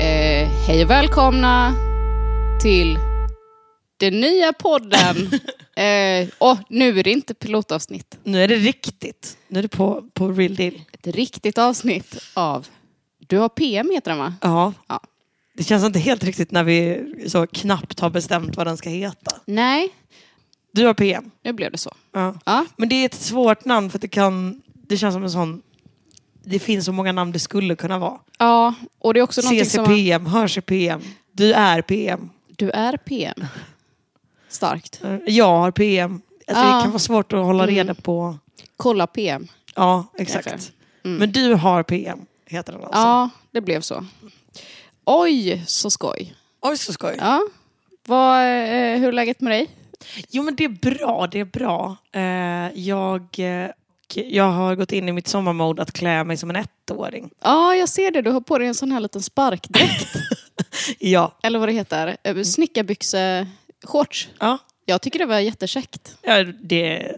Eh, hej och välkomna till den nya podden. eh, och nu är det inte pilotavsnitt. Nu är det riktigt. Nu är det på, på real deal. Ett riktigt avsnitt av Du har PM heter den va? Ja. Ja. Det känns inte helt riktigt när vi så knappt har bestämt vad den ska heta. Nej, Du har PM. nu blev det så. Ja. Ja, Men det är ett svårt namn för att det kan... Det känns som en sån... Det finns så många namn det skulle kunna vara. ja och det är också någonting som... CCPM, Hörs i PM, Du är PM, Du är PM. Starkt. Jag har PM. Alltså Ja. Det kan vara svårt att hålla reda på... Kolla PM. Ja, exakt. Kanske. Men du har PM, heter den alltså. Ja, det blev så. Oj, så skoj. Oj, så skoj. Ja. Vad, eh, hur är läget med dig? Jo men det är bra, det är bra. Eh, jag, eh, och jag har gått in i mitt sommarmode att klä mig som en ettåring. Ja, jag ser det. Du har på dig en sån här liten sparkdräkt. Ja. eller vad det heter, Mm. eh, snickarbyxe, shorts. Ja, Jag tycker det var jättekäckt. ja det,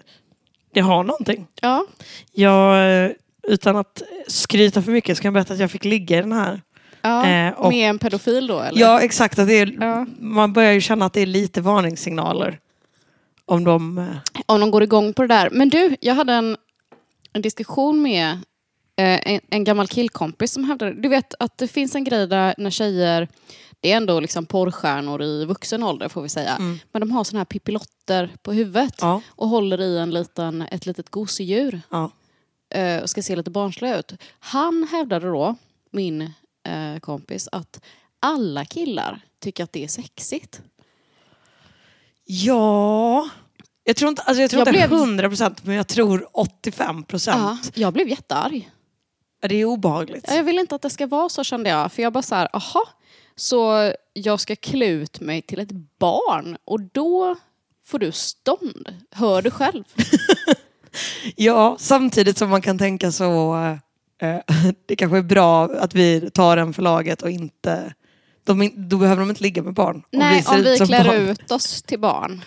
det har någonting. Ja. Jag, eh, utan att skryta för mycket så kan jag berätta att jag fick ligga i den här. ja. Eh, och- Med en pedofil då eller? Ja exakt, att det är, Ja. man börjar ju känna att det är lite varningssignaler. Om de... eh, Om de går igång på det där. Men du, jag hade en, en diskussion med eh, en, en gammal killkompis som hävdade, du vet att det finns en grej där när tjejer, det är ändå liksom porrstjärnor i vuxen ålder får vi säga, men de har såna här pippilotter på huvudet Mm. Ja. och håller i en liten, ett litet gosedjur. Ja. eh, och ska se lite barnsliga ut. Han hävdade då, min eh, kompis, att alla killar tycker att det är sexigt. ja. Jag tror inte, alltså jag tror Jag inte blev- 100 procent men jag tror 85 Ja, procent. jag blev jättearg. Det är obehagligt. Jag vill inte att det ska vara så kände jag. För jag bara så här, aha, så jag ska klä ut mig till ett barn och då får du stånd. Hör du själv? Ja, samtidigt som man kan tänka så. Eh, det kanske är bra att vi tar en för laget och inte... De, in- då behöver de inte ligga med barn. Nej, ser om ut vi som klär barn. ut oss till barn.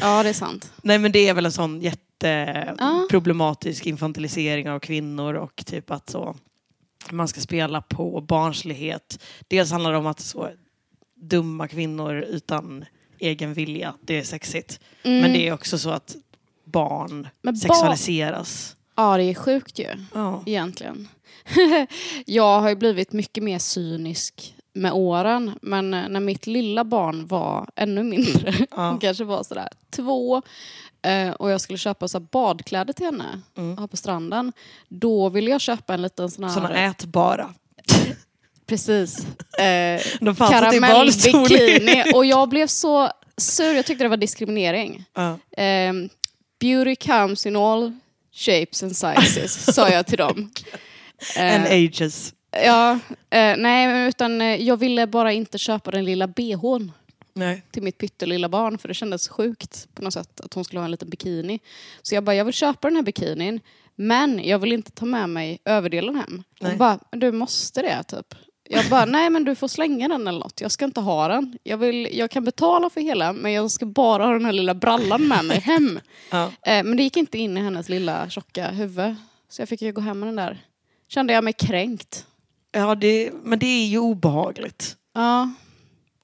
Ja, det är sant. Nej, men det är väl en sån Ja. jätteproblematisk infantilisering av kvinnor och typ att så, man ska spela på barnslighet. Dels handlar det om att så dumma kvinnor utan egen vilja, det är sexigt. Men det är också så att barn Mm. Men barn- sexualiseras. Ja, det är sjukt ju. Ja. egentligen. jag har ju blivit mycket mer cynisk med åren, men eh, när mitt lilla barn var ännu mindre, Mm. hon kanske var sådär två, eh, och jag skulle köpa så här badkläder till henne Mm. här på stranden, då ville jag köpa en liten sån här... Sådana ätbara. Precis. Eh, De fanns inte i barnstorlek. Karamellbikini. Och jag blev så sur, jag tyckte det var diskriminering. Ja. Ehm, beauty comes in all shapes and sizes, sa jag till dem. And Eh, ages. Ja, eh, nej, men utan eh, jag ville bara inte köpa den lilla bhn Nej. till mitt pyttelilla barn för det kändes sjukt på något sätt att hon skulle ha en liten bikini. Så jag bara, jag vill köpa den här bikinin men jag vill inte ta med mig överdelen hem. Hon Nej. bara, "Men du måste det typ. Jag bara, nej men du får slänga den eller något. Jag ska inte ha den. Jag, vill, jag kan betala för hela men jag ska bara ha den här lilla brallan med mig hem. Ja. Eh, men det gick inte in i hennes lilla tjocka huvud. Så jag fick ju gå hem med den där. Kände jag mig kränkt. Ja, det, men det är ju obehagligt Ja.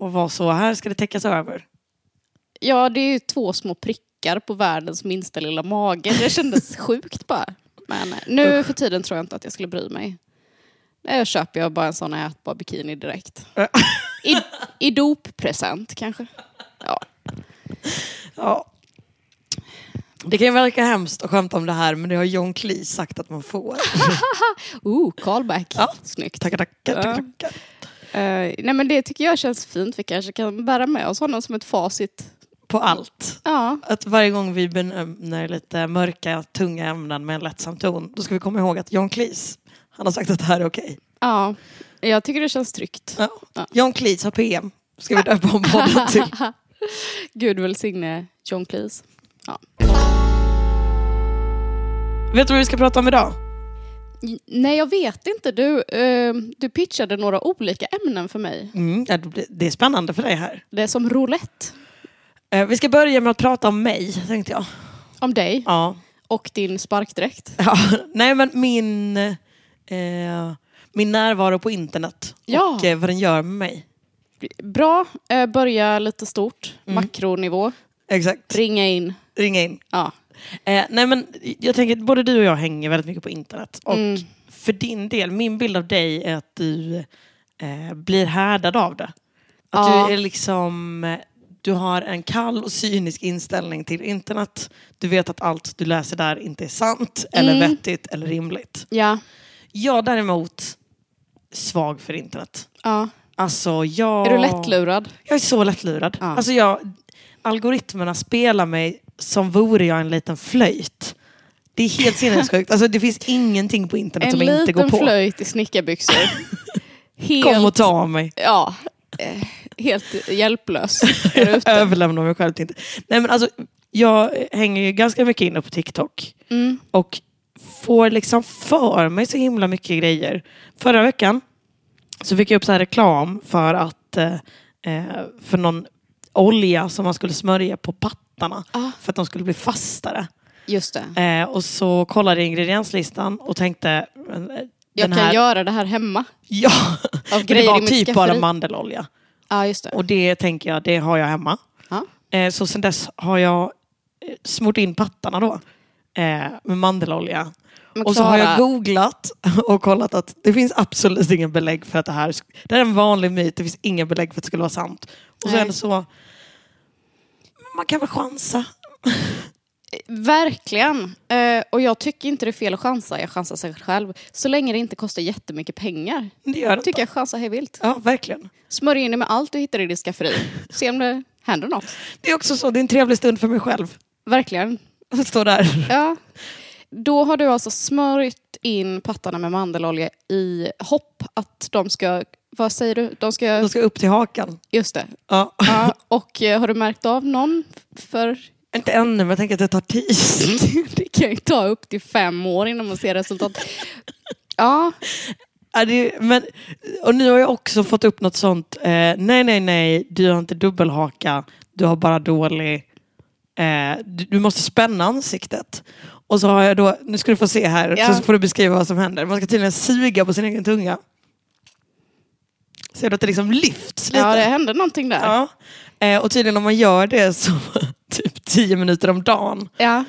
att vara så. Här ska det täckas över. ja, det är ju två små prickar på världens minsta lilla mage. Det kändes sjukt bara. Men eh, nu för tiden tror jag inte att jag skulle bry mig. Nu köper jag bara en sån ätbar bikini direkt. Ja. I, i doppresent kanske. Ja. Ja. Det kan ju verka hemskt att skämta om det här, men det har John Cleese sagt att man får. Ooh, callback. Ja. Snyggt. Tackar, tackar, tackar, Ja. tackar. Eh, nej men det tycker jag känns fint. Vi kanske kan bära med oss honom som ett facit. På allt. Ja, Att varje gång vi benämner lite mörka, tunga ämnen med en lättsam ton, då ska vi komma ihåg att John Cleese, han har sagt att det här är okej. ja. jag tycker det känns tryggt. Ja. John Cleese har PM. Ska vi döpa om podden till. Gud välsigne John Cleese. Ja. Vet du vad vi ska prata om idag? J- Nej, jag vet inte. Du, eh, du pitchade några olika ämnen för mig. Mm, ja, det blir- det är spännande för dig här. Det är som roulette. Eh, Vi ska börja med att prata om mig, tänkte jag. Om dig Ja. och din sparkdräkt. ja. Nej, men min, eh, min närvaro på internet Ja. och eh, vad den gör med mig. Bra, eh, börja lite stort. Mm. Makronivå. Exakt. Ringa in. Ringa in. Ja. Eh, nej, men jag tänker att både du och jag hänger väldigt mycket på internet. Och Mm. för din del, min bild av dig är att du eh, blir härdad av det. Att Ja. du är liksom... eh, Du har en kall och cynisk inställning till internet. Du vet att allt du läser där inte är sant, eller Mm. vettigt eller rimligt. Ja. Jag däremot, svag för internet. ja. Alltså jag... Är du lättlurad? Jag är så lättlurad. Ja. Alltså jag, algoritmerna spelar mig som vore jag en liten flöjt. Det är helt sinnessjukt. Alltså det finns ingenting på internet En som jag inte går liten på. flöjt i snickarbyxor. Kom och Helt, ta av mig. ja, eh, helt hjälplös. där ute. Överlämna mig själv till inte. Nej, men alltså, jag hänger ju ganska mycket inne på TikTok. Mm. Och får liksom för mig så himla mycket grejer. Förra veckan så fick jag upp så här reklam för att eh, eh, för någon olja som man skulle smörja på pattarna. Ah. För att de skulle bli fastare. Just det. Eh, och så kollade jag ingredienslistan och tänkte... men, eh, Jag den kan här, göra det här hemma. Ja, Av men det grejer var i mitt typ bara skafferi. mandelolja. Ja, just det. Och det tänker jag, det har jag hemma. Ja. Eh, så sen dess har jag eh, smort in pattarna då. Eh, med mandelolja. Men Och så har jag Klara- googlat och kollat att det finns absolut inga belägg för att det här... sk- Det här är en vanlig myt, det finns inga belägg för att det skulle vara sant. Och så Nej. är det så... Man kan väl chansa? Verkligen. Eh, och jag tycker inte det är fel att chansa. Jag chansar säkert själv. Så länge det inte kostar jättemycket pengar. Det gör det Jag tycker inte. jag chansar hej vilt. Ja, verkligen. Smörj in dig med allt du hittar i ditt skafferi. Se om det händer något. Det är också så, det är en trevlig stund för mig själv. Verkligen. Att stå där. Ja. Då har du alltså smörjt in pattarna med mandelolja i hopp att de ska... Vad säger du? De ska... De ska upp till hakan. Just det. Ja. Ja. Och eh, har du märkt av någon? För Inte ännu, men jag tänker att det tar Mm. tid. det kan ju ta upp till fem år innan man ser resultat. Ja, Ja, det, är- men, och nu har jag också fått upp något sånt. Eh, nej, nej, nej, du har inte dubbelhaka. Du har bara dålig... Eh, du, du måste spänna ansiktet. Och så har jag då, nu ska du få se här, Ja. så får du beskriva vad som händer. Man ska tydligen suga på sin egen tunga. Ser du att det liksom lyfts lite? ja det hände någonting där. Ja. Eh, och tydligen om man gör det så typ 10 minuter om dagen Ja.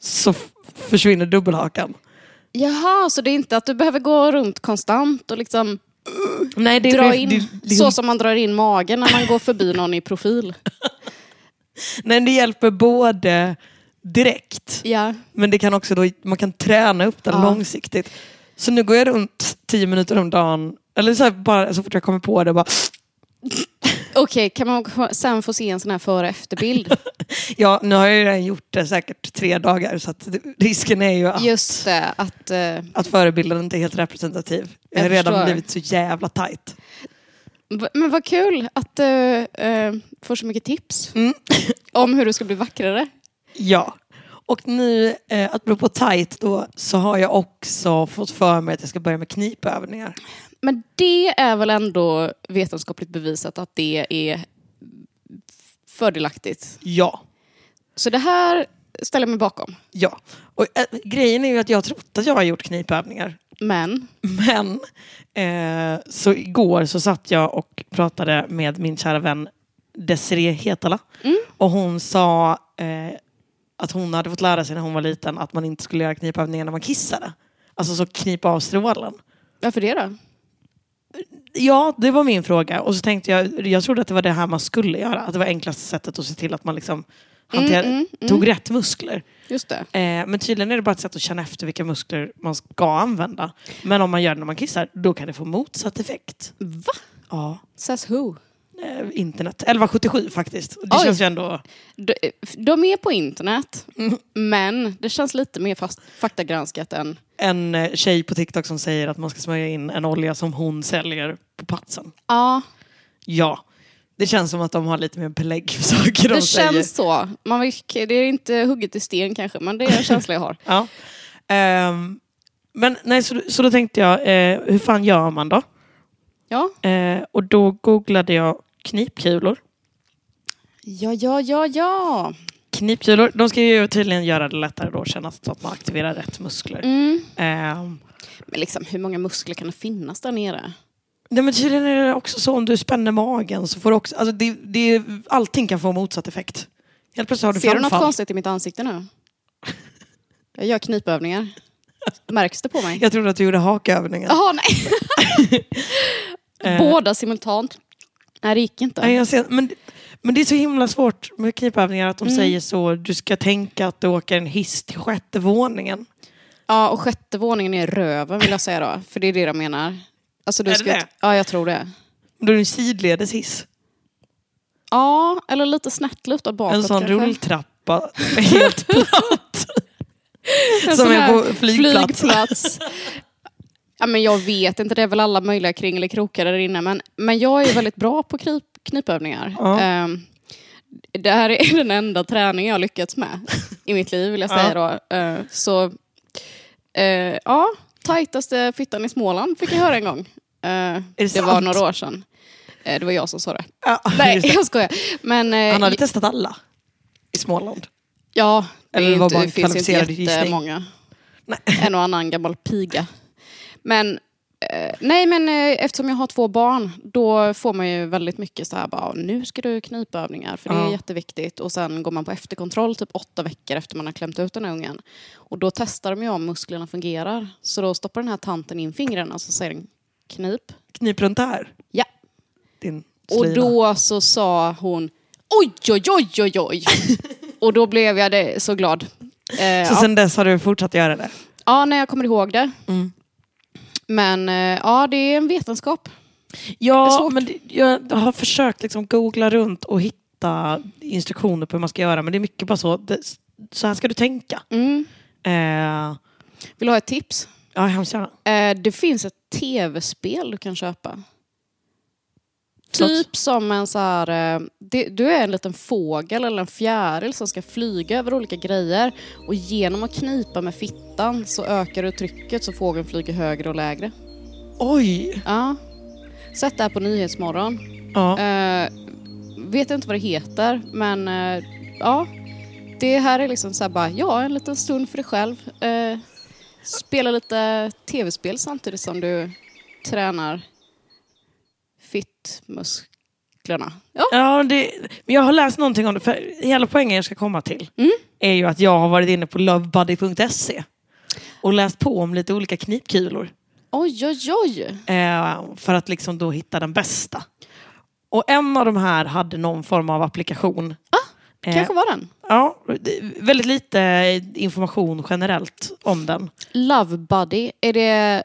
så f- försvinner dubbelhakan. Jaha, så det är inte att du behöver gå runt konstant och liksom Nej, det liksom- dra in, så som man drar in magen när man går förbi någon i profil. Nej, det hjälper både direkt, Ja. men det kan också då, man kan träna upp den Ja. långsiktigt. Så nu går jag runt 10 minuter om dagen, eller så, här, bara, så fort jag kommer på det. Bara, Okej, kan man k- sen få se en sån här före och efterbild? ja, nu har jag ju redan gjort det säkert tre dagar, så att det- risken är ju att, Just det, att... eh, att förebilden inte är helt representativ. Jag har Jag redan förstår. blivit så jävla tajt. v- men vad kul att du får så mycket tips Mm. om hur du ska bli vackrare. Ja. Och nu, eh, apropå tight då, så har jag också fått för mig att jag ska börja med knipövningar. Men det är väl ändå vetenskapligt bevisat att det är fördelaktigt. Ja. Så det här ställer jag mig bakom. Ja, och eh, grejen är ju att jag har trott att jag har gjort knipövningar. Men, Men eh, så igår så satt jag och pratade med min kära vän Desiree Hetala. Och hon sa eh, att hon hade fått lära sig när hon var liten att man inte skulle göra knipövningar när man kissade. Alltså så knipa av strålen. varför det då? Ja, det var min fråga. Och så tänkte jag, jag trodde att det var det här man skulle göra. Att det var enklaste sättet att se till att man liksom hanterar, tog rätt muskler. Just det. Eh, men tydligen är det bara ett sätt att känna efter vilka muskler man ska använda. Men om man gör det när man kissar, då kan det få motsatt effekt. Va? Ja. Says who? Eh, internet. 1177 faktiskt. Det Oj. känns ju ändå... De, de är på internet, men det känns lite mer fast, faktagranskat än... En eh, tjej på TikTok som säger att man ska smörja in en olja som hon säljer på patsen. Ja, Ja. Det känns som att de har lite mer belägg för saker de det säger. känns så. Man, vill- det är inte hugget i sten kanske, men det är en känsla jag har. Ja. Ehm, men nej, så, så då tänkte jag, eh, hur fan gör man då? Ja, Eh, och då googlade jag knipkulor. ja, ja, ja. ja. Knipkulor, de ska ju tydligen göra det lättare då att känna så att man aktiverar rätt muskler. Mm. Ehm, Men liksom, hur många muskler kan det finnas där nere? nej men tydligen är det också så om du spänner magen så får du också, alltså det, det, allting kan få motsatt effekt. Helt plötsligt har du Ser du något framfall. konstigt i mitt ansikte nu? Jag gör knipövningar. Märks det på mig? Jag trodde att du gjorde hakövningar. Jaha, nej. Båda simultant. Nej, det gick inte. Nej, jag ser, men, men det är så himla svårt med knipövningar att de Mm. säger så, du ska tänka att du åker en hiss till sjätte våningen. Ja, och sjätte våningen är röven vill jag säga då. För det är det de menar. Alltså, du Är ska det ju inte- Ja, jag tror det. Då är det en sidledes hiss. Ja, eller lite snett lutad bakåt En sån kanske. rulltrappa helt platt. En som sån är här på flygplats. flygplats. Ja, men jag vet inte, det är väl alla möjliga kringelikrokar där inne. Men, men jag är väldigt bra på knip, knipövningar. Ja. Ehm, det här är den enda träningen jag har lyckats med i mitt liv, vill jag säga. Då. Ehm, så, eh, ja, tajtaste fittan i Småland fick jag höra en gång. Ehm, det var sant? några år sedan. Ehm, det var jag som sa det. Ja, Nej, just det. jag skojar. Men, eh, Han hade testat alla i Småland. Ja, det, Eller är var inte, bara en det finns inte kvalificerad gissning. jättemånga. En och annan gammal piga. Men, eh, nej, men eh, eftersom jag har två barn, då får man ju väldigt mycket så här, bara, nu ska du knipövningar, för det är Ja. jätteviktigt. Och sen går man på efterkontroll typ åtta veckor efter man har klämt ut den här ungen. Och då testar de ju om musklerna fungerar. Så då stoppar den här tanten in fingrarna och så säger den knip. Knip runt där. Ja. Din Och slina. då så sa hon oj, oj, oj, oj, oj. och då blev jag det, så glad. Eh, så ja. sen dess har du fortsatt göra det? Ja, när jag kommer ihåg det. Mm. Men eh, ja, det är en vetenskap. Ja, men det- jag har försökt liksom googla runt och hitta instruktioner på hur man ska göra. Men det är mycket bara så, det, så här ska du tänka. Eh, Vill du ha ett tips? ja, hemskt gärna. Eh, det finns ett tv-spel du kan köpa. Förlåt? Typ som en så här... eh, det- Du är en liten fågel eller en fjäril som ska flyga över olika grejer. Och genom att knipa med fittan så ökar du trycket så fågeln flyger högre och lägre. Oj! Ja. Sätt det här på Nyhetsmorgon. Ja. Eh, vet inte vad det heter, men eh, ja. Det här är liksom så här bara, ja, en liten stund för dig själv. Eh, spela lite tv-spel samtidigt som du tränar fittmusklerna. Ja, Ja, det, men jag har läst någonting om det. För hela poängen jag ska komma till är ju att jag har varit inne på lovebuddy.se E och läst på om lite olika knipkulor. oj, oj, oj. Eh, för att liksom då hitta den bästa. Och en av de här hade någon form av applikation. Ah, Kanske var den. Ja, det- väldigt lite information generellt om den. Love Buddy, är det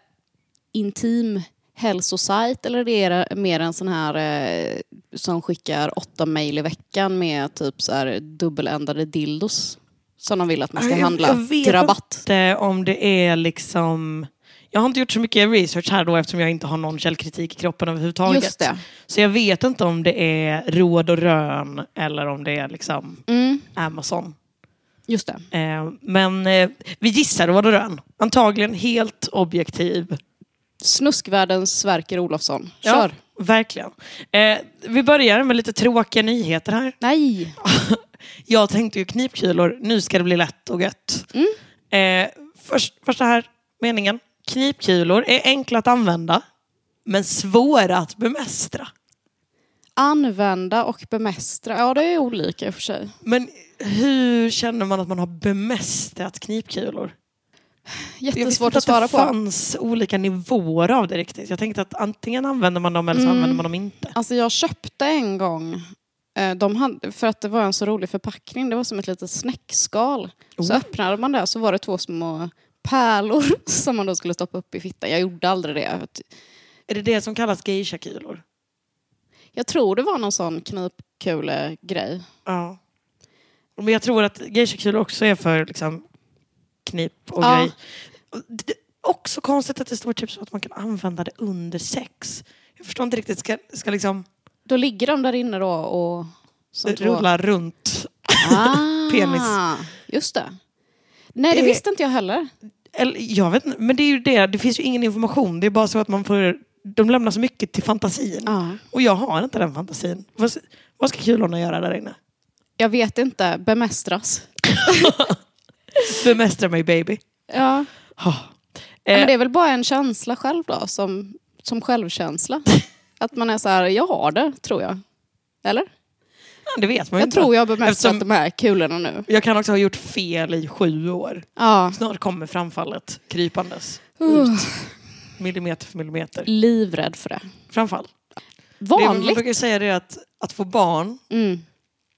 intim hälsosajt eller är det mer en sån här eh, som skickar åtta mejl i veckan med typ så här dubbeländade dildos? Som de vill att man ska Jag- handla jag vet till rabatt. inte om det är liksom... Jag har inte gjort så mycket research här då eftersom jag inte har någon källkritik i kroppen överhuvudtaget. Just det. Så jag vet inte om det är råd och rön eller om det är liksom Mm, Amazon. just det. Eh, men eh, vi gissar råd och rön. Antagligen helt objektiv. Snuskvärldens Sverker Olofsson. Ja, Kör! verkligen. Eh, vi börjar med lite tråkiga nyheter här. Nej! Jag tänkte ju Mm. knipkulor, nu ska det bli lätt och gött. Eh, först, första här meningen. Knipkulor är enkla att använda, men svåra att bemästra. Använda och bemästra, ja det är olika i och för sig. Men hur känner man att man har bemästrat knipkulor? Jag visste Jättesvårt inte att svara Det på. fanns olika nivåer av det riktigt. Jag tänkte att antingen använder man dem eller så Mm. använder man dem inte. Alltså jag köpte en gång, eh, de hade, för att det var en så rolig förpackning, det var som ett litet snäckskal. Så Oh. öppnade man det så var det två små pärlor som man då skulle stoppa upp i fittan. Jag gjorde aldrig det. för att- Är det det som kallas geisha-kulor? Jag tror det var någon sån knipkulegrej. Ja. Men jag tror att geishakulor också är för liksom, knip och Ja. grej. Och Det är också konstigt att det står typ så att man kan använda det under sex. Jag förstår inte riktigt. Ska, ska liksom Då ligger de där inne då och... som två- rulla runt? Ah, Eh, Penis. Just det. Nej, det Eh. visste inte jag heller. Eller, jag vet inte, men det är ju det. Det finns ju ingen information. Det är bara så att man får... De lämnar så mycket till fantasin. Ja. Och jag har inte den fantasin. Vad, vad ska kulorna göra där inne? Jag vet inte. Bemästras. Bemästra mig baby. Ja. Ja, Ha. Eh, Men det är väl bara en känsla själv då, som, som självkänsla. Att man är så här, jag har det, tror jag. Eller? det vet man ju Jag inte. tror jag har bemästrat Eftersom- de här kulorna nu. Jag kan också ha gjort fel i sju år. Ja. Snart kommer framfallet krypandes. Millimeter för millimeter. Livrädd för det. Framfall. Det man Vanligt. brukar ju säga det är att, att få barn, Mm.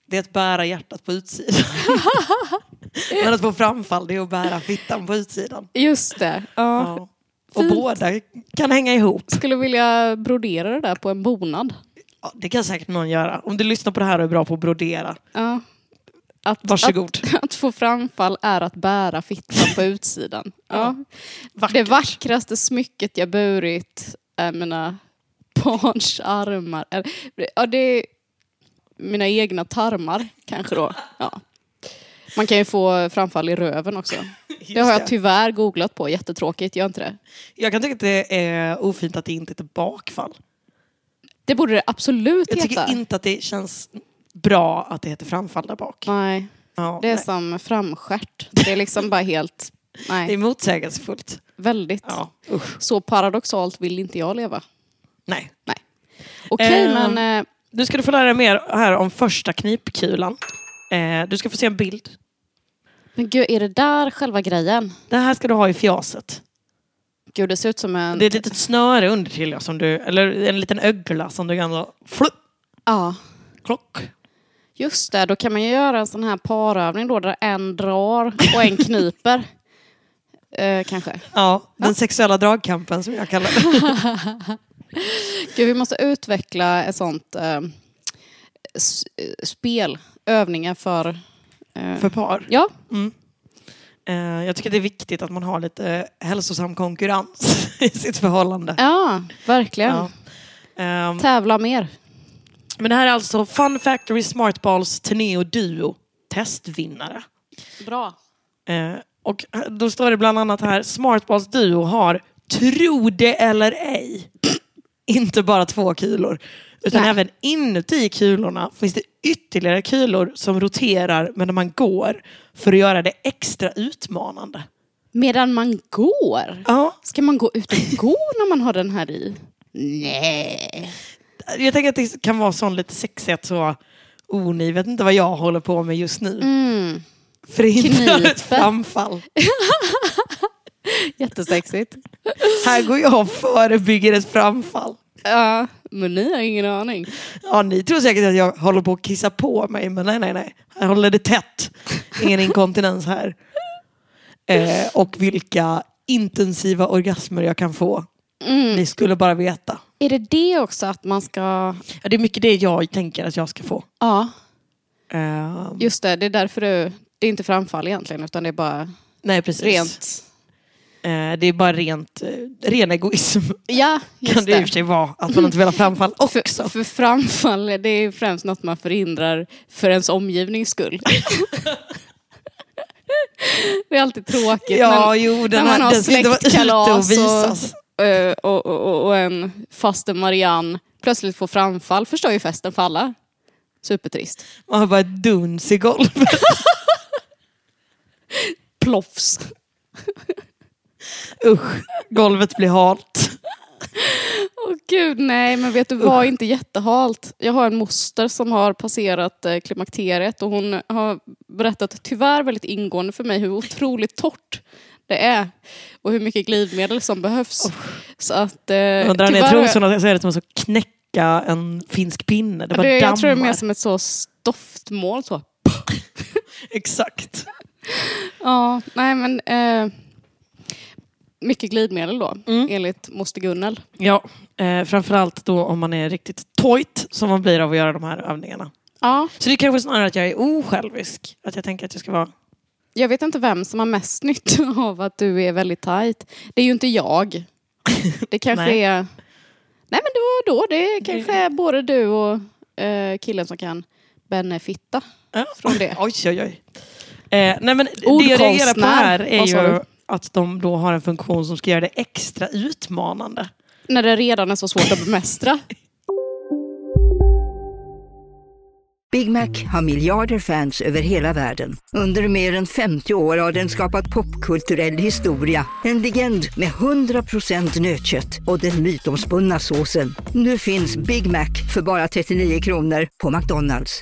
det är att bära hjärtat på utsidan. Men att få framfall, det är att bära fittan på utsidan. Just det. Ja. Ja. Och Fint. båda kan hänga ihop. Skulle vilja brodera det där på en bonad. Ja, det kan säkert någon göra. Om du lyssnar på det här och är bra på att brodera, Ja. Att, varsågod. Att, att få framfall är att bära fittan på utsidan. Ja. Vackert. Det vackraste smycket jag burit är mina barns armar. Eller, Ja, det är mina egna tarmar kanske då. Ja. Man kan ju få framfall i röven också. Det Just har jag det. tyvärr googlat på, jättetråkigt, gör inte det? Jag kan tycka att det är ofint att det inte är ett bakfall. Det borde det absolut Jag heta. tycker inte att det känns bra att det heter framfall där bak. Nej, Ja, det är nej. som framskärt. Det är liksom bara helt, det är nej, motsägelsefullt. väldigt. Ja, usch. Så paradoxalt vill inte jag leva. Nej. Okej, Ehm. men eh, Nu ska du få lära dig mer här om första knipkulan. Eh, du ska få se en bild. Men gud, är det där själva grejen? Det här ska du ha i fjaset. Gud, det ser ut som en... Det är ett litet snöre under till ja, som du, eller en liten ögla som du kan då, flupp, Ja, klock. just det. Då kan man ju göra en sån här parövning då, där en drar och en kniper. Eh, kanske. Ja, den sexuella dragkampen som jag kallar det. Gud, vi måste utveckla ett sånt eh, s- eh, spel, övningar för... eh, för par. Ja, Eh, jag tycker det är viktigt att man har lite eh, hälsosam konkurrens i sitt förhållande. ja, verkligen. Ja. Ehm, Tävla mer. men det här är alltså Fun Factory Smartballs Teneo Duo testvinnare. Bra. Eh, och då står det bland annat här, Smartballs Duo har, tro det eller ej, inte bara två kulor. Utan Nej. även inuti kulorna finns det ytterligare kulor som roterar medan man går för att göra det extra utmanande. Medan man går. Ja, Ska man gå ut och gå när man har den här i? Nej. jag tänker att det kan vara sån lite sexigt så, oh ni vet inte vad jag håller på med just nu. Mm. Förhindrar Knipe. ett framfall. Jättesexigt. Här går jag och förebygger ett framfall. Ja, men ni har ingen aning. Ja, ni tror säkert att jag håller på att kissa på mig, men nej, nej, nej. Jag håller det tätt. Ingen inkontinens här. Eh, och vilka intensiva orgasmer jag kan få. Ni skulle bara veta. Är det det också att man ska... Ja, det är mycket det jag tänker att jag ska få. Ja, Eh, just det. Det är därför du... Det är inte framfall egentligen, utan det är bara nej, precis. rent... Eh, det är bara rent, eh, ren egoism. Ja, kan just det i och det. för sig vara. Att man inte vill ha framfall också. För, för framfall, det är främst något man förhindrar för ens omgivnings skull. det är alltid tråkigt. ja, men- jo, när den, man här, har den ska inte vara ute och släktkalas och- visas. eh, och, och, och en faster Marianne plötsligt får framfall förstör ju festen för alla. Supertrist. Man har bara ett duns i golvet. Ploffs. Usch, golvet blir halt. Åh gud, nej men vet du vad, inte jättehalt. Jag har en moster som har passerat eh, klimakteriet och hon har berättat tyvärr väldigt ingående för mig hur otroligt torrt det är och hur mycket glidmedel som behövs. Så att eh, Man drar ner tyvärr- trosorna så är det som att knäcka en finsk pinne. Det bara det, jag tror det är dammar. mer som ett så stoftmål så. Exakt. Ja, nej men eh, mycket glidmedel då, Mm. enligt moster Gunnel. Ja, eh, framförallt då om man är riktigt tojt som man blir av att göra de här övningarna. Ja, Så det är kanske snarare att jag är osjälvisk. Att jag tänker att jag ska vara... Jag vet inte vem som har mest nytta av att du är väldigt tajt. Det är ju inte jag. Det kanske Nej. är... Nej men det var då. Det kanske är både du och eh, killen som kan benefitta Ja. från det. Oj, oj, oj. Eh, nej, men det jag Ordkonstnär. reagerar på här är Vad sa ju du? att de då har en funktion som ska göra det extra utmanande. När det redan är så svårt att bemästra. Big Mac har miljarder fans över hela världen. Under mer än 50 år har den skapat popkulturell historia. En legend med 100% nötkött och den mytomspunna såsen. Nu finns Big Mac för bara 39 kronor på McDonalds.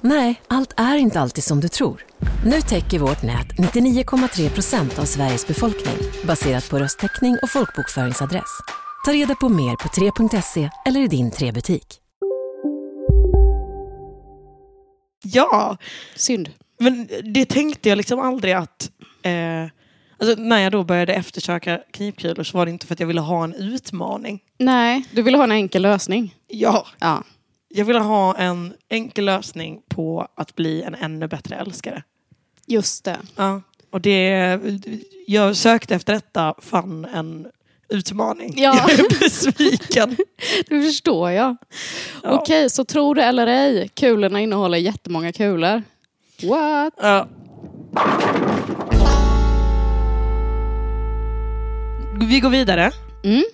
Nej, allt är inte alltid som du tror. Nu täcker vårt nät 99,3 procent av Sveriges befolkning baserat på röstteckning och folkbokföringsadress. Ta reda på mer på 3.se eller i din 3-butik. Ja, Synd. men det tänkte jag liksom aldrig att... Eh, alltså, när jag då började eftersöka knivkulor så var det inte för att jag ville ha en utmaning. Nej, du ville ha en enkel lösning. Ja, Ja. jag ville ha en enkel lösning på att bli en ännu bättre älskare. Just det. Ja. Och det, jag sökte efter detta, fann en utmaning. Ja. Jag är besviken. Det förstår jag. Ja. Okej, så tror du eller ej, kulorna innehåller jättemånga kulor. What? Ja. Vi går vidare Mm.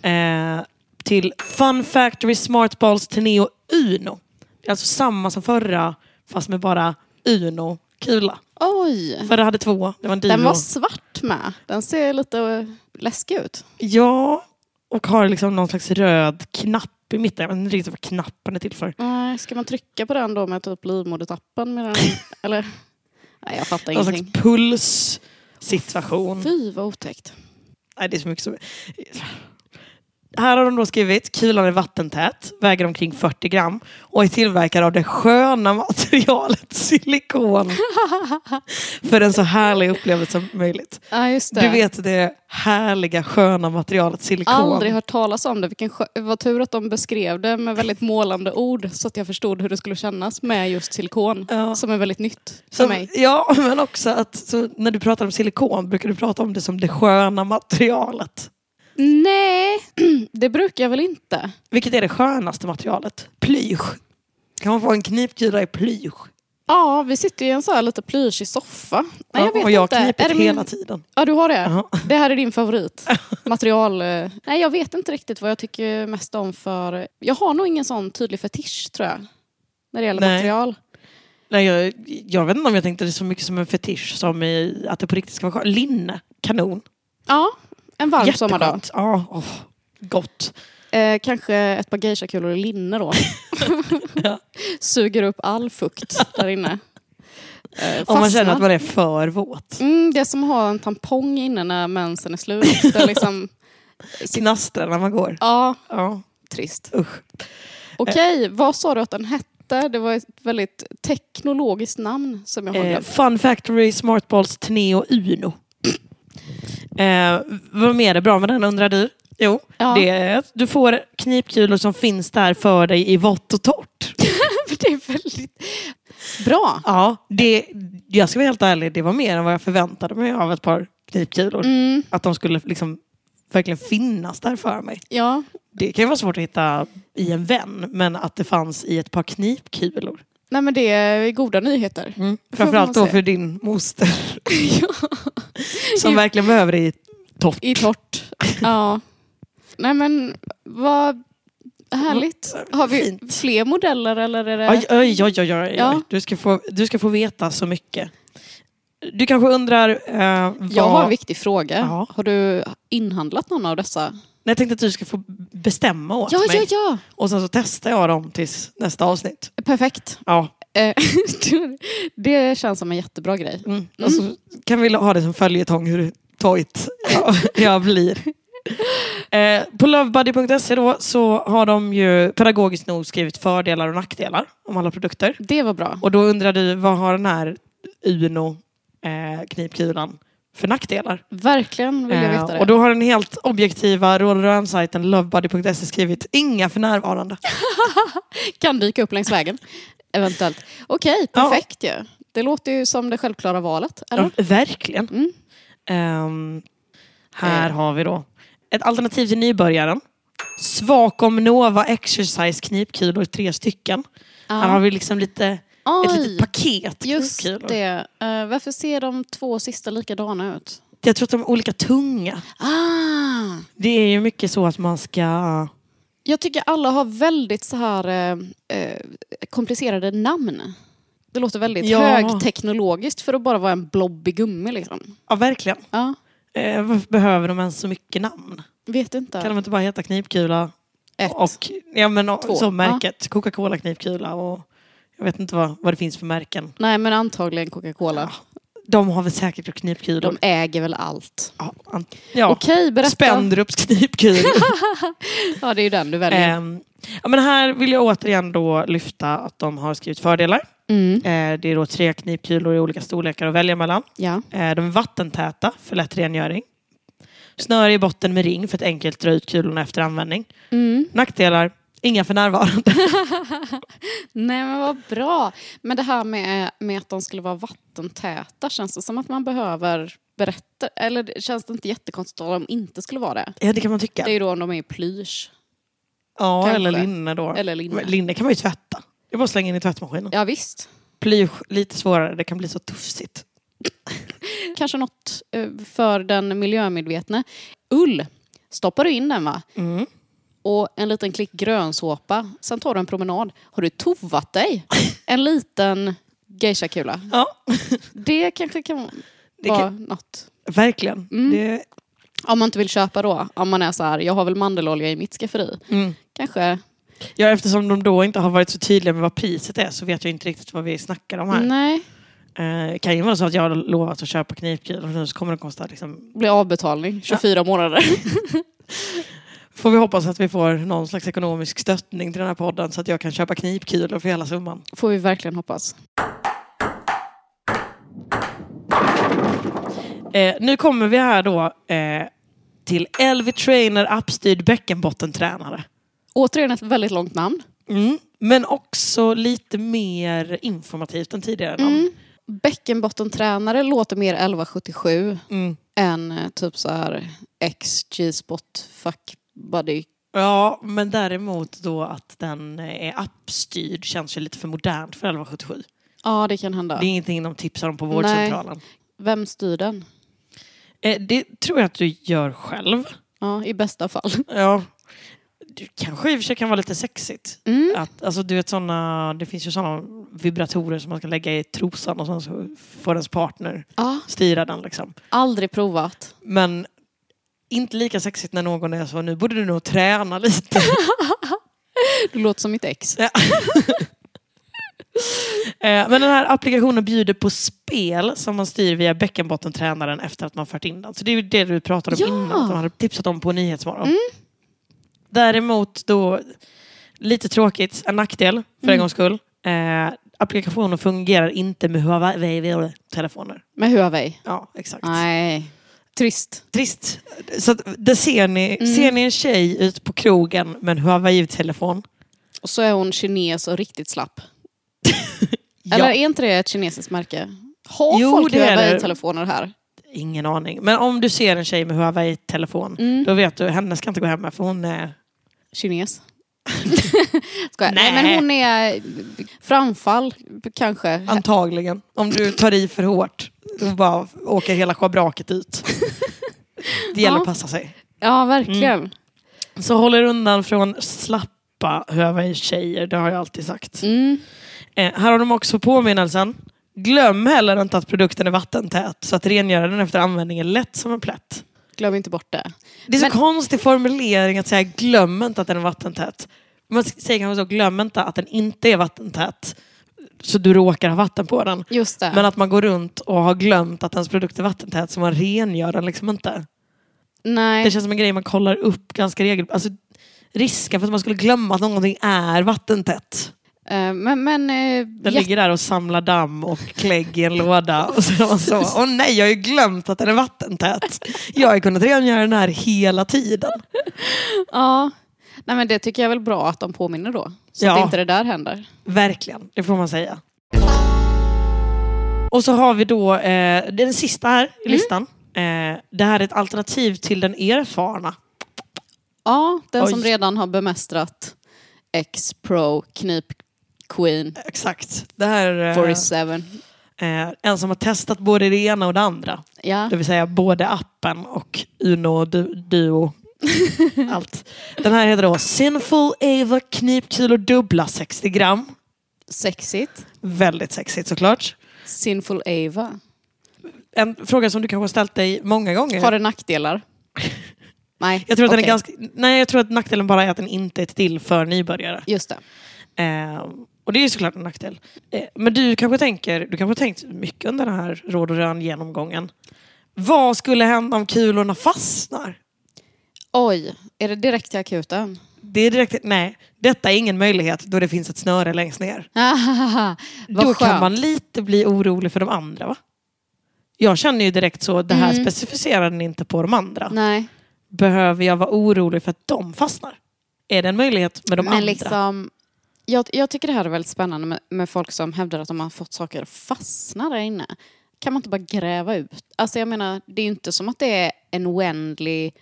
eh, till Fun Factory Smartballs Teneo Uno. Det är alltså samma som förra, fast med bara Uno-kula. Oj! Förra hade två, det var en Dino. Den var svart med. Den ser lite eh, läskig ut. Ja, och har liksom någon slags röd knapp i mitten. Jag vet inte riktigt vad knappen är till för. Nej, ska man trycka på den då med typ livmodertappen? Med den? Eller? Nej, jag fattar Någon ingenting. slags puls-situation. Fy vad otäckt. Nej, det är så mycket som... Här har de då skrivit, kulan är vattentät, väger omkring 40 gram och är tillverkad av det sköna materialet silikon. För en så härlig upplevelse som möjligt. Ja, just det. Du vet det härliga sköna materialet silikon. Aldrig hört talas om det. Vilken skö- vad tur att de beskrev det med väldigt målande ord så att jag förstod hur det skulle kännas med just silikon Ja. som är väldigt nytt för Som- mig. Ja, men också att så, när du pratar om silikon brukar du prata om det som det sköna materialet. Nej, det brukar jag väl inte. Vilket är det skönaste materialet? Plysch. Kan man få en knipkula i plysch? Ja, vi sitter ju i en så här lite plyschig soffa. Nej, jag vet och jag har inte. Är det knipit min- hela tiden. Ja, du har det? Ja. Det här är din favorit. Material... eh, Nej, jag vet inte riktigt vad jag tycker mest om för... Jag har nog ingen sån tydlig fetisch, tror jag. När det gäller Nej. material. Nej, jag, jag vet inte om jag tänkte det så mycket som en fetisch som i att det på riktigt ska vara skönt. Linne, kanon. Ja, en varm sommardag. Jätteskönt. Ja, åh, gott. Eh, kanske ett par geishakulor i linne då. Suger upp all fukt där inne. Eh, Om man fastnar. känner att man är för våt. Mm, det är som att ha en tampong inne när mensen är slut. Det är liksom... Knastrar när man går. Ja, Ja, trist. usch. Okej, Eh. vad sa du att den hette? Det var ett väldigt teknologiskt namn som jag har Eh, glömt. Fun Factory, Smartballs, Teneo, Uno. eh, vad mer är bra med den undrar du? Jo, Ja. det är att du får knipkulor som finns där för dig i vått och torrt. Det är väldigt bra. Ja, det, jag Mm. ska vara helt ärlig, det var mer än vad jag förväntade mig av ett par knipkulor. Att de skulle liksom verkligen finnas där för mig. Ja, Det kan ju vara svårt att hitta i en vän, men att det fanns i ett par knipkulor. nej men det är goda nyheter. Framförallt då Mm. man säga. för din moster, ja. som I- verkligen behöver det i torrt. I torrt. Ja. Nej men vad härligt. Har vi Fint. fler modeller eller är det... Oj, oj, oj, oj, oj. Ja. Du, ska få, du ska få veta så mycket. Du kanske undrar... Eh, vad... Jag har en viktig fråga. Ja. Har du inhandlat någon av dessa? Nej, Jag tänkte att du ska få bestämma åt Ja, mig. ja, ja. Och sen så testar jag dem tills nästa avsnitt. Perfekt. Ja. Eh, det känns som en jättebra grej. Mm. Och så kan vi ha det som följetong hur tojt jag, jag blir. Eh, på lovebuddy.se då så har de ju pedagogiskt nog skrivit fördelar och nackdelar om alla produkter. Det var bra. Och då undrar du, vad har den här Uno eh, knipkulan för nackdelar? Verkligen vill jag Eh, veta det. Och då har den helt objektiva rollrön-sajten lovebuddy.se skrivit inga för närvarande. Kan dyka upp längs vägen. Eventuellt. Okej, Ja. perfekt ju. Det låter ju som det självklara valet. Eller? Ja, verkligen. Mm. Eh. Ehm, här har vi då ett alternativ till nybörjaren. Svakom Nova Exercise knipkulor, tre stycken. Här har vi liksom lite, ett Oj. litet paket Just knipkulor. det. Eh, varför ser de två sista likadana ut? Jag tror att de är olika tunga. Ah! Det är ju mycket så att man ska... Jag tycker alla har väldigt så här eh, eh, komplicerade namn. Det låter väldigt Ja. högteknologiskt för att bara vara en blobbig gummi liksom. Ja, verkligen. Ja, Eh, varför behöver de ens så mycket namn? vet inte. Kan de inte bara heta knipkula Ett. och ja, men, och- Två. så märket? Coca-Cola knipkula och jag vet inte vad, vad det finns för märken. Nej men antagligen Coca-Cola. De har väl säkert knipkulor. De äger väl allt. Ja, an- ja. Okej, berätta. Spendrups knipkul. Ja, det är ju den du väljer. Ehm, ja, men här vill jag återigen då lyfta att de har skrivit fördelar. Mm. Eh, det är då tre knipkulor i olika storlekar att välja mellan. Ja. Eh, de är vattentäta för lätt rengöring. Snöre i botten med ring för att enkelt dra ut kulorna efter användning. Mm. Nackdelar, inga för närvarande. Nej men vad bra. Men det här med, med att de skulle vara vattentäta, känns det som att man behöver berätta? Eller det- känns det inte jättekonstigt om de inte skulle vara det? ja, det kan man tycka. Det är ju då om de är i plysch. ja, kanske. eller linne då. Eller linne. Men linne kan man ju tvätta. Det är bara att slänga in i tvättmaskinen. Ja, visst. Plysch, lite svårare. Det kan bli så tufsigt. Kanske något eh, för den miljömedvetne. Ull stoppar du in den va? Mm. Och en liten klick grönsåpa. Sen tar du en promenad. Har du tovat dig? En liten geishakula. Ja, Det kanske kan Det vara kan- något. verkligen. Mm. Det, Om man inte vill köpa då. Om man är så här, jag har väl mandelolja i mitt skafferi. Mm. Kanske. Ja, eftersom de då inte har varit så tydliga med vad priset är så vet jag inte riktigt vad vi snackar om här. Nej. Eh, kan ju vara så att jag har lovat att köpa knipkulor och nu så kommer det kosta liksom... Blir avbetalning 24 månader. Får vi hoppas att vi får någon slags ekonomisk stöttning till den här podden så att jag kan köpa knipkulor för hela summan. Får vi verkligen hoppas. Eh, nu kommer vi här då eh, till LV Trainer appstyrd bäckenbottentränare. Återigen ett väldigt långt namn. Mm. Men också lite mer informativt än tidigare namn. Mm. Bäckenbottentränare låter mer 1177 Mm. än eh, typ så här X, G-spot, fuck buddy. Ja, men däremot då att den eh, är appstyrd känns ju lite för modernt för 1177. Ja, det kan hända. Det är ingenting de tipsar om på vårdcentralen. Vem styr den? Eh, det tror jag att du gör själv. Ja, i bästa fall. Ja. Du kanske i och för sig kan vara lite sexigt. Mm. Att, alltså, du vet, såna, det finns ju sådana vibratorer som man ska lägga i trosan och sen så får ens partner Ja, styra den. Liksom. aldrig provat. Men inte lika sexigt när någon är så, nu borde du nog träna lite. Du låter som mitt ex. Eh, Men den här applikationen bjuder på spel som man styr via bäckenbottentränaren efter att man fört in den. Så det är ju det du pratade om Ja. Mm. innan, att de hade tipsat om på Nyhetsmorgon. Däremot då, lite tråkigt, en nackdel för Mm. en gångs skull. Eh, applikationen fungerar inte med Huawei-telefoner. Med Huawei. Ja, exakt. Nej. Trist. Trist. Så att, där ser ni, Mm. ser ni en tjej ut på krogen med en Huawei-telefon. Och så är hon kines och riktigt slapp. Ja. Eller är inte det ett kinesiskt märke? Har Jo, folk det är det. Huawei-telefoner här? Ingen aning. Men om du ser en tjej med Huawei-telefon, då vet du henne ska inte gå hem med för hon är... Kines. Skojar. Nej. men hon är framfall kanske. Antagligen. Om du tar i för hårt, då bara åker hela schabraket ut. Det gäller att passa sig. Ja, verkligen. Mm. Så håll er undan från slappa Huawei-tjejer, det har jag alltid sagt. Mm. Eh, här har de också påminnelsen. Glöm heller inte att produkten är vattentät så att rengöra den efter användning är lätt som en plätt. Glöm inte bort det. Det är så Men- konstig formulering att säga glöm inte att den är vattentät. Man säger kanske så, glöm inte att den inte är vattentät så du råkar ha vatten på den. Just det. Men att man går runt och har glömt att ens produkt är vattentät så man rengör den liksom inte. Nej. Det känns som en grej man kollar upp ganska regelbundet. Alltså, risken för att man skulle glömma att någonting är vattentätt. Eh, men men eh, Den jätte- ligger där och samlar damm och klägg i en låda. Och så är man så, åh nej, jag har ju glömt att den är vattentät. Jag har ju kunnat rengöra den här hela tiden. ja. Nej, men det tycker jag är väl bra att de påminner då. Så Ja. att inte det där händer. Verkligen, det får man säga. Och så har vi då eh, den sista här i listan. Eh, det här är ett alternativ till den erfarna. Ja, den Oj. som redan har bemästrat X-Pro Knip Queen Exakt. Det här är 47. eh, en som har testat både det ena och det andra. Ja. Det vill säga både appen och Uno du, Duo. Allt. Den här heter då Sinful Ava knipkulor dubbla 60 gram. Sexigt. Väldigt sexigt såklart. Sinful Ava. En fråga som du kanske har ställt dig många gånger. Har det nackdelar? Nej. Jag tror att den är okej. ganska... Nej, jag tror att nackdelen bara är att den inte är till för nybörjare. Just det. Eh, och det är ju såklart en nackdel. Eh, men du kanske tänker, du kanske har tänkt mycket under den här råd och rön genomgången. Vad skulle hända om kulorna fastnar? Oj, är det direkt till akuten? Det är direkt, nej, detta är ingen möjlighet då det finns ett snöre längst ner. Vad då skönt. kan man lite bli orolig för de andra va? Jag känner ju direkt så, det här Mm. specificerar den inte på de andra. Nej, Behöver jag vara orolig för att de fastnar? Är det en möjlighet med de men andra? liksom... Jag, jag tycker det här är väldigt spännande med, med folk som hävdar att de har fått saker att fastna där inne. Kan man inte bara gräva ut? Alltså jag menar, det är ju inte som att det är en oändlig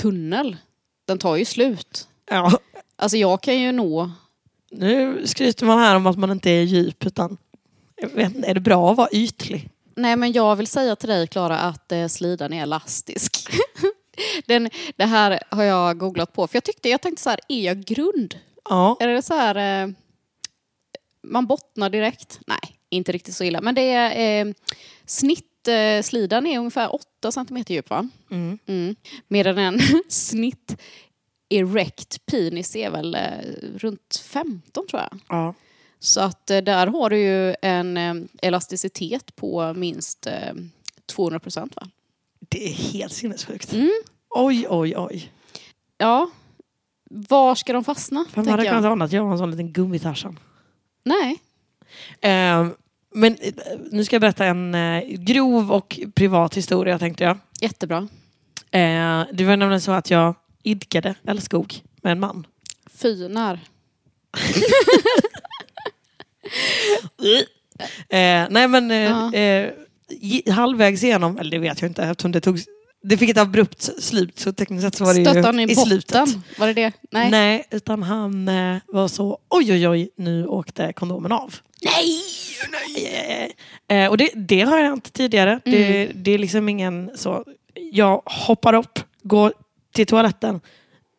tunnel. Den tar ju slut. Ja, Alltså jag kan ju nå... Nu skryter man här om att man inte är djup utan jag vet, inte, är det bra att vara ytlig? Nej men jag vill säga till dig Klara att eh, slidan är elastisk. Den, det här har jag googlat på för jag tyckte, jag tänkte så här, är jag grund? Ja. Är det så här... Eh, man bottnar direkt? Nej, inte riktigt så illa. Men det är... Eh, snittslidan eh, slidan är ungefär 8 centimeter djup, va? Mm. Mm. Medan en snitt erect penis är väl eh, runt 15, tror jag. ja. Så att eh, där har du ju en eh, elasticitet på minst eh, 200 procent, va? Det är helt sinnessjukt. Mm. Oj, oj, oj. Ja. Var ska de fastna? Vem tänker hade jag. kunnat ana att jag var en sån liten gummitarsan? Nej. Eh, men eh, nu ska jag berätta en eh, grov och privat historia tänkte jag. Jättebra. Eh, det var nämligen så att jag idkade älskog med en man. Fynar. Eh, nej men eh, Ja. eh, gi- halvvägs igenom, eller det vet jag inte eftersom det tog det fick ett abrupt slut så tekniskt sett så var det Stötte han ju i, i botten? slutet. Var det det? Nej. Nej. utan han eh, var så oj oj oj, nu åkte kondomen av. Nej! nej. Eh, och det, det har jag inte tidigare. Det, Mm. det är liksom ingen så, jag hoppar upp, går till toaletten.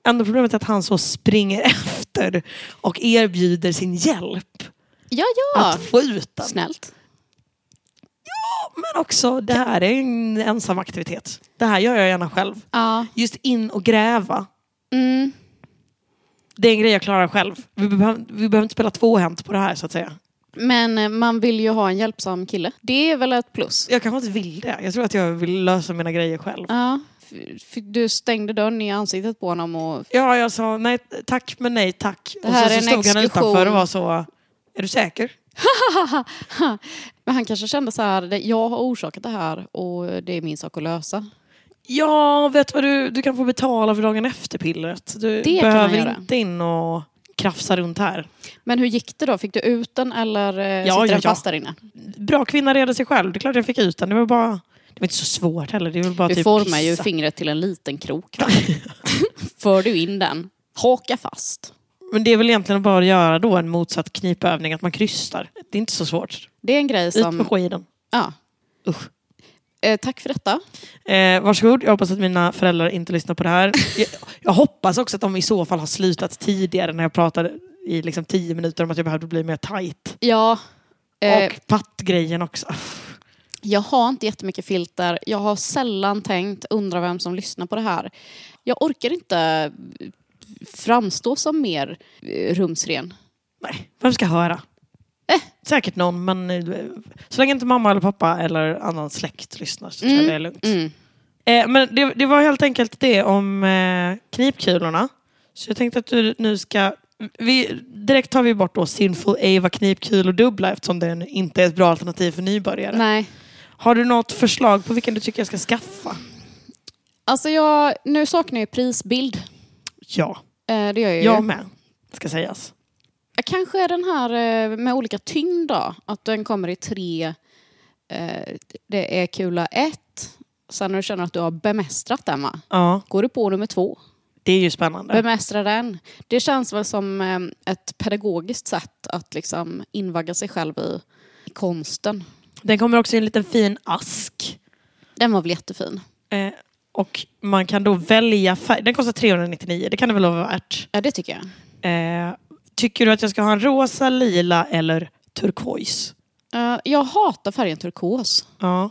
Enda problemet är att han så springer efter och erbjuder sin hjälp Ja, ja. att få ut den. Snällt. Men också, det här är en ensam aktivitet. Det här gör jag gärna själv. Ja. Just in och gräva. Mm. Det är en grej jag klarar själv. Vi, behöver- vi behöver inte spela tvåhänt på det här så att säga. Men eh, man vill ju ha en hjälpsam kille. Det är väl ett plus? Jag kanske inte vill det. Jag tror att jag vill lösa mina grejer själv. Ja. F- f- Du stängde dörren i ansiktet på honom och... Ja, jag sa nej tack men nej tack. Det och här så, är en så stod han exkursion. utanför och var så, är du säker? Men han kanske kände så här, "Det- jag har orsakat det här och det är min sak att lösa. Ja, vet vad du, du kan få betala för dagen efter-pillret. Du Det kan man behöver göra. inte in och krafsa runt här. Men hur gick det då? Fick du ut den eller ja, Ja, sitter ja, den ja. fast där inne? Bra kvinna reder sig själv. Det är klart jag fick ut den. Det var bara... Det var inte så svårt heller. Det är väl bara Du typ formar ju kissa. fingret till en liten krok. va? För du in den, haka fast. Men det är väl egentligen bara att göra då en motsatt knipövning, att man krystar. Det är inte så svårt. Det är en grej Ut med som... skeden. Ja. Usch. Eh, tack för detta. Eh, varsågod, jag hoppas att mina föräldrar inte lyssnar på det här. Jag, jag hoppas också att de i så fall har slutat tidigare när jag pratade i liksom tio minuter om att jag behövde bli mer tight. Ja. Eh, Och pattgrejen också. Jag har inte jättemycket filter. Jag har sällan tänkt, undra vem som lyssnar på det här. Jag orkar inte framstå som mer eh, rumsren. Nej, vem ska höra? Eh. Säkert någon, men eh, så länge inte mamma eller pappa eller annan släkt lyssnar så tror jag Mm, det är lugnt. Mm. Eh, men det, det var helt enkelt det om eh, knipkulorna. Så jag tänkte att du nu ska... Vi, direkt tar vi bort då Sinful Ava knipkulor dubbla eftersom den inte är ett bra alternativ för nybörjare. Nej. Har du något förslag på vilken du tycker jag ska skaffa? Alltså jag, nu saknar jag prisbild. Ja, Eh, det gör jag ju. jag med. Ska sägas. Kanske den här eh, med olika tyngd då. Att den kommer i tre. Eh, det är kula ett. Sen när du känner att du har bemästrat den va? Ja, Går du på nummer två. det är ju spännande. Bemästra den. Det känns väl som eh, ett pedagogiskt sätt att liksom invagga sig själv i, i konsten. Den kommer också i en liten fin ask. Den var väl jättefin. Eh, och man kan då välja färg. Den kostar 399, det kan det väl vara värt. Ja, det tycker jag. Eh, tycker du att jag ska ha en rosa, lila eller turkos? Eh, jag hatar färgen turkos. Ja.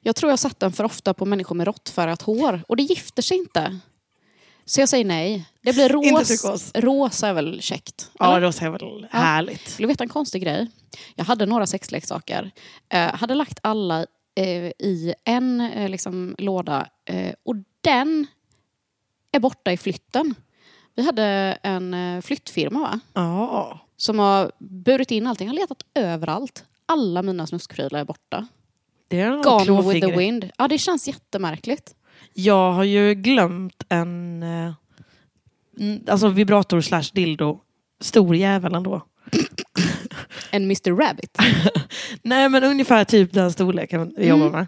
Jag tror jag har satt den för ofta på människor med råttfärgat hår och det gifter sig inte. Så jag säger nej. Det blir ros. Inte turkos. Rosa är väl käckt? Ja, eller? rosa är väl härligt. Vill du veta en konstig grej? Jag hade några sexleksaker. Eh, hade lagt alla eh, i en eh, liksom, låda eh, och den är borta i flytten. Vi hade en eh, flyttfirma va? Ja. som har burit in allting. Jag har letat överallt. Alla mina snuskprylar är borta. Det är någon Gone with the klåfingrig. wind. Ja, det känns jättemärkligt. Jag har ju glömt en eh, n- alltså vibrator slash dildo. Stor jävel ändå. En Mr Rabbit. Nej men ungefär typ den storleken Mm. vi jobbar med.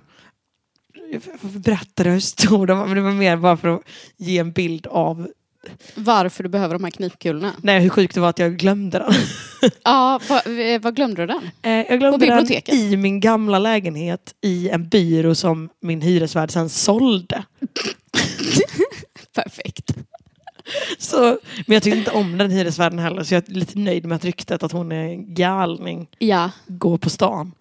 Jag- Varför berättar du hur stor den var? Men det var mer bara för att ge en bild av Varför du behöver de här knipkulorna. nej, hur sjukt det var att jag glömde den. Ja, vad vad glömde du den? Eh, jag glömde Mm. På den biblioteket? i min gamla lägenhet i en byrå som min hyresvärd sen sålde. Perfekt. Så, men jag tyckte inte om den hyresvärden heller så jag är lite nöjd med att ryktet att hon är en galning Ja. går på stan.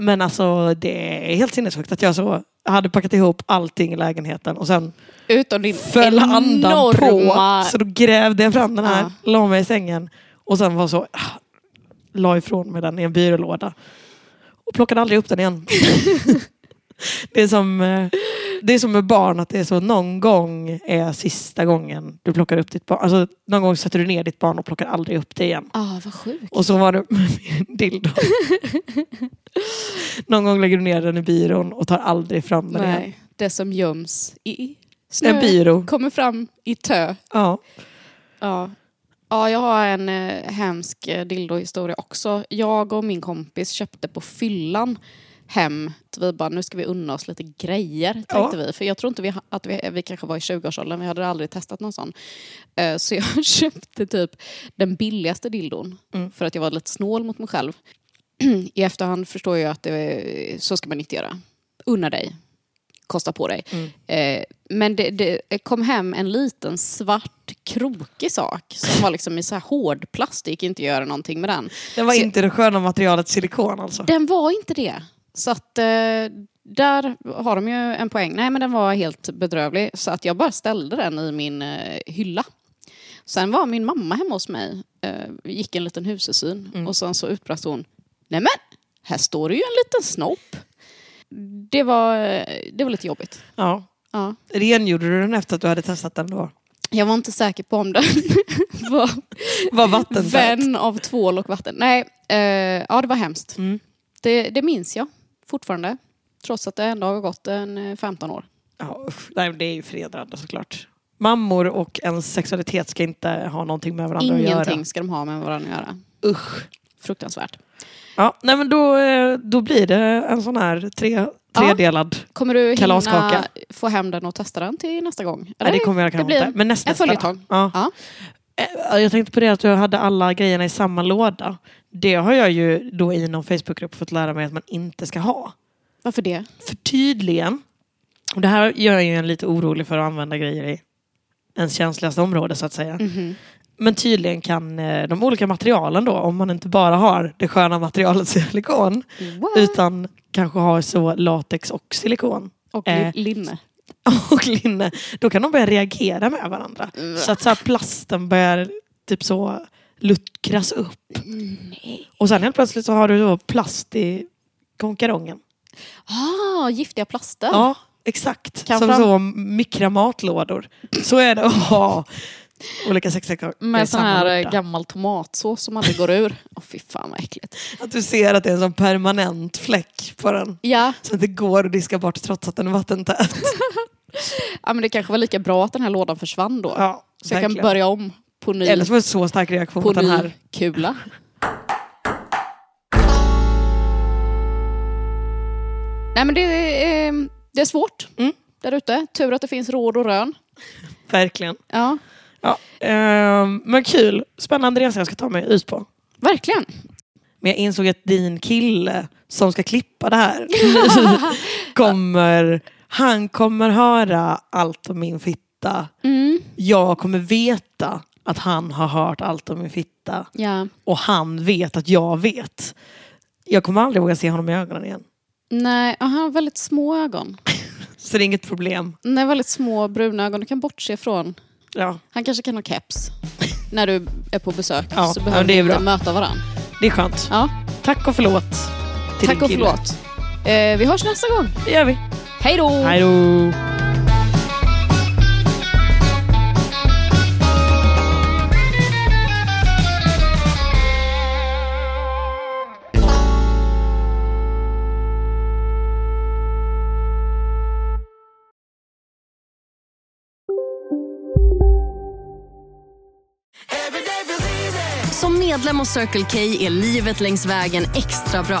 Men alltså det är helt sinnessjukt att jag så hade packat ihop allting i lägenheten och sen Utom din föll andan enorma... på. Så då grävde jag fram den här, Ja. la mig i sängen och sen var så, ah, la ifrån mig den i en byrålåda. Och plockade aldrig upp den igen. det, är som, eh, det är som med barn, att det är så någon gång är sista gången du plockar upp ditt barn. Alltså någon gång sätter du ner ditt barn och plockar aldrig upp det igen. Ah, vad sjukt. Och så var det med min dildo. någon gång lägger du ner den i byrån och tar aldrig fram den igen. Nej, det som göms i En snö byrå. kommer fram i tö. Ja. Ja. Ja, jag har en eh, hemsk eh, dildohistoria också. Jag och min kompis köpte på fyllan hem. Så Vi bara, nu ska vi unna oss lite grejer, tänkte Ja. vi. För jag tror inte vi, ha- att vi, vi kanske var i 20-årsåldern, vi hade aldrig testat någon sån. Eh, Så jag köpte typ den billigaste dildon, för att jag var lite snål mot mig själv. I efterhand förstår jag att det, eh, så ska man inte göra. Unna dig, kosta på dig. Eh, men det, det kom hem en liten svart krokig sak som var liksom i så här hård plast. Det gick inte att göra någonting med den. Den var Så- inte det sköna materialet silikon alltså? Den var inte det. Så att eh, där har de ju en poäng. Nej men den var helt bedrövlig. Så att jag bara ställde den i min eh, hylla. Sen var min mamma hemma hos mig. Eh, vi gick en liten husesyn. Och sen så utbrast hon. Nej men, här står det ju en liten snopp. Det var, eh, det var lite jobbigt. Ja. Ja. Rengjorde du den efter att du hade testat den då? Jag var inte säker på om den var Var vattentät? vän av tvål och vatten. Nej, eh, ja det var hemskt. Mm. Det, det minns jag fortfarande. Trots att det ändå har gått en eh, 15 år. Ja, usch. Nej, det är ju förnedrande såklart. Mammor och ens sexualitet ska inte ha någonting med varandra att göra. Ingenting ska de ha med varandra att göra. Usch. Fruktansvärt. Ja, nej men då, eh, då blir det en sån här tre, tredelad. Kommer du hinna Kalaskaka. få hem den och testa den till nästa gång? Nej, det kommer jag kanske blir inte. Men näst, en nästa då. följetong. Ja. Ja. Eh, Jag tänkte på det att jag hade alla grejerna i samma låda. Det har jag ju då i någon Facebookgrupp fått lära mig att man inte ska ha. Varför det? För tydligen, och det här gör ju en lite orolig för att använda grejer i ens känsligaste område så att säga. Men tydligen kan eh, de olika materialen då, om man inte bara har det sköna materialet silikon, What? utan kanske har så latex och silikon Och Eh. li- linne. och linne, då kan de börja reagera med varandra. Så att så här, plasten börjar typ så luckras upp. Och sen helt plötsligt så har du då plast i konkarongen. Ah, giftiga plaster. Ja, exakt. Kan Som fram- så mikramatlådor. Så är det att ha olika sexleksaker i Med sån samma här låda. eh, gammal tomatsås som aldrig går ur. Åh fy fan vad äckligt. Att du ser att det är en sån permanent fläck på den. Ja, Så att det går att diska bort trots att den är vattentät. ja men det kanske var lika bra att den här lådan försvann då. Ja, så jag kan verkligen. börja om på ny, Eller så var det så stark reaktion på mot den här. ny kula. Nej men det, är, eh, det är svårt Mm. där ute. Tur att det finns råd och rön. Verkligen. Ja, Ja, ehm, men kul. Spännande resa jag ska ta mig ut på. verkligen. Men jag insåg att din kille som ska klippa det här kommer, han kommer höra allt om min fitta. Mm. Jag kommer veta att han har hört allt om min fitta Ja. och han vet att jag vet. Jag kommer aldrig våga se honom i ögonen igen. Nej, ja, han har väldigt små ögon. Så det är inget problem. Nej, väldigt små bruna ögon. Du kan bortse från. Ja, Han kanske kan ha keps. När du är på besök Ja, så ja, behöver det ni är inte bra. möta varandra. det är skönt. Ja, Tack och förlåt till tack din och kille. förlåt. Mm. Eh, vi hörs nästa gång. Det gör vi. Hej då! Hej då. Som medlem hos Circle K är livet längs vägen extra bra.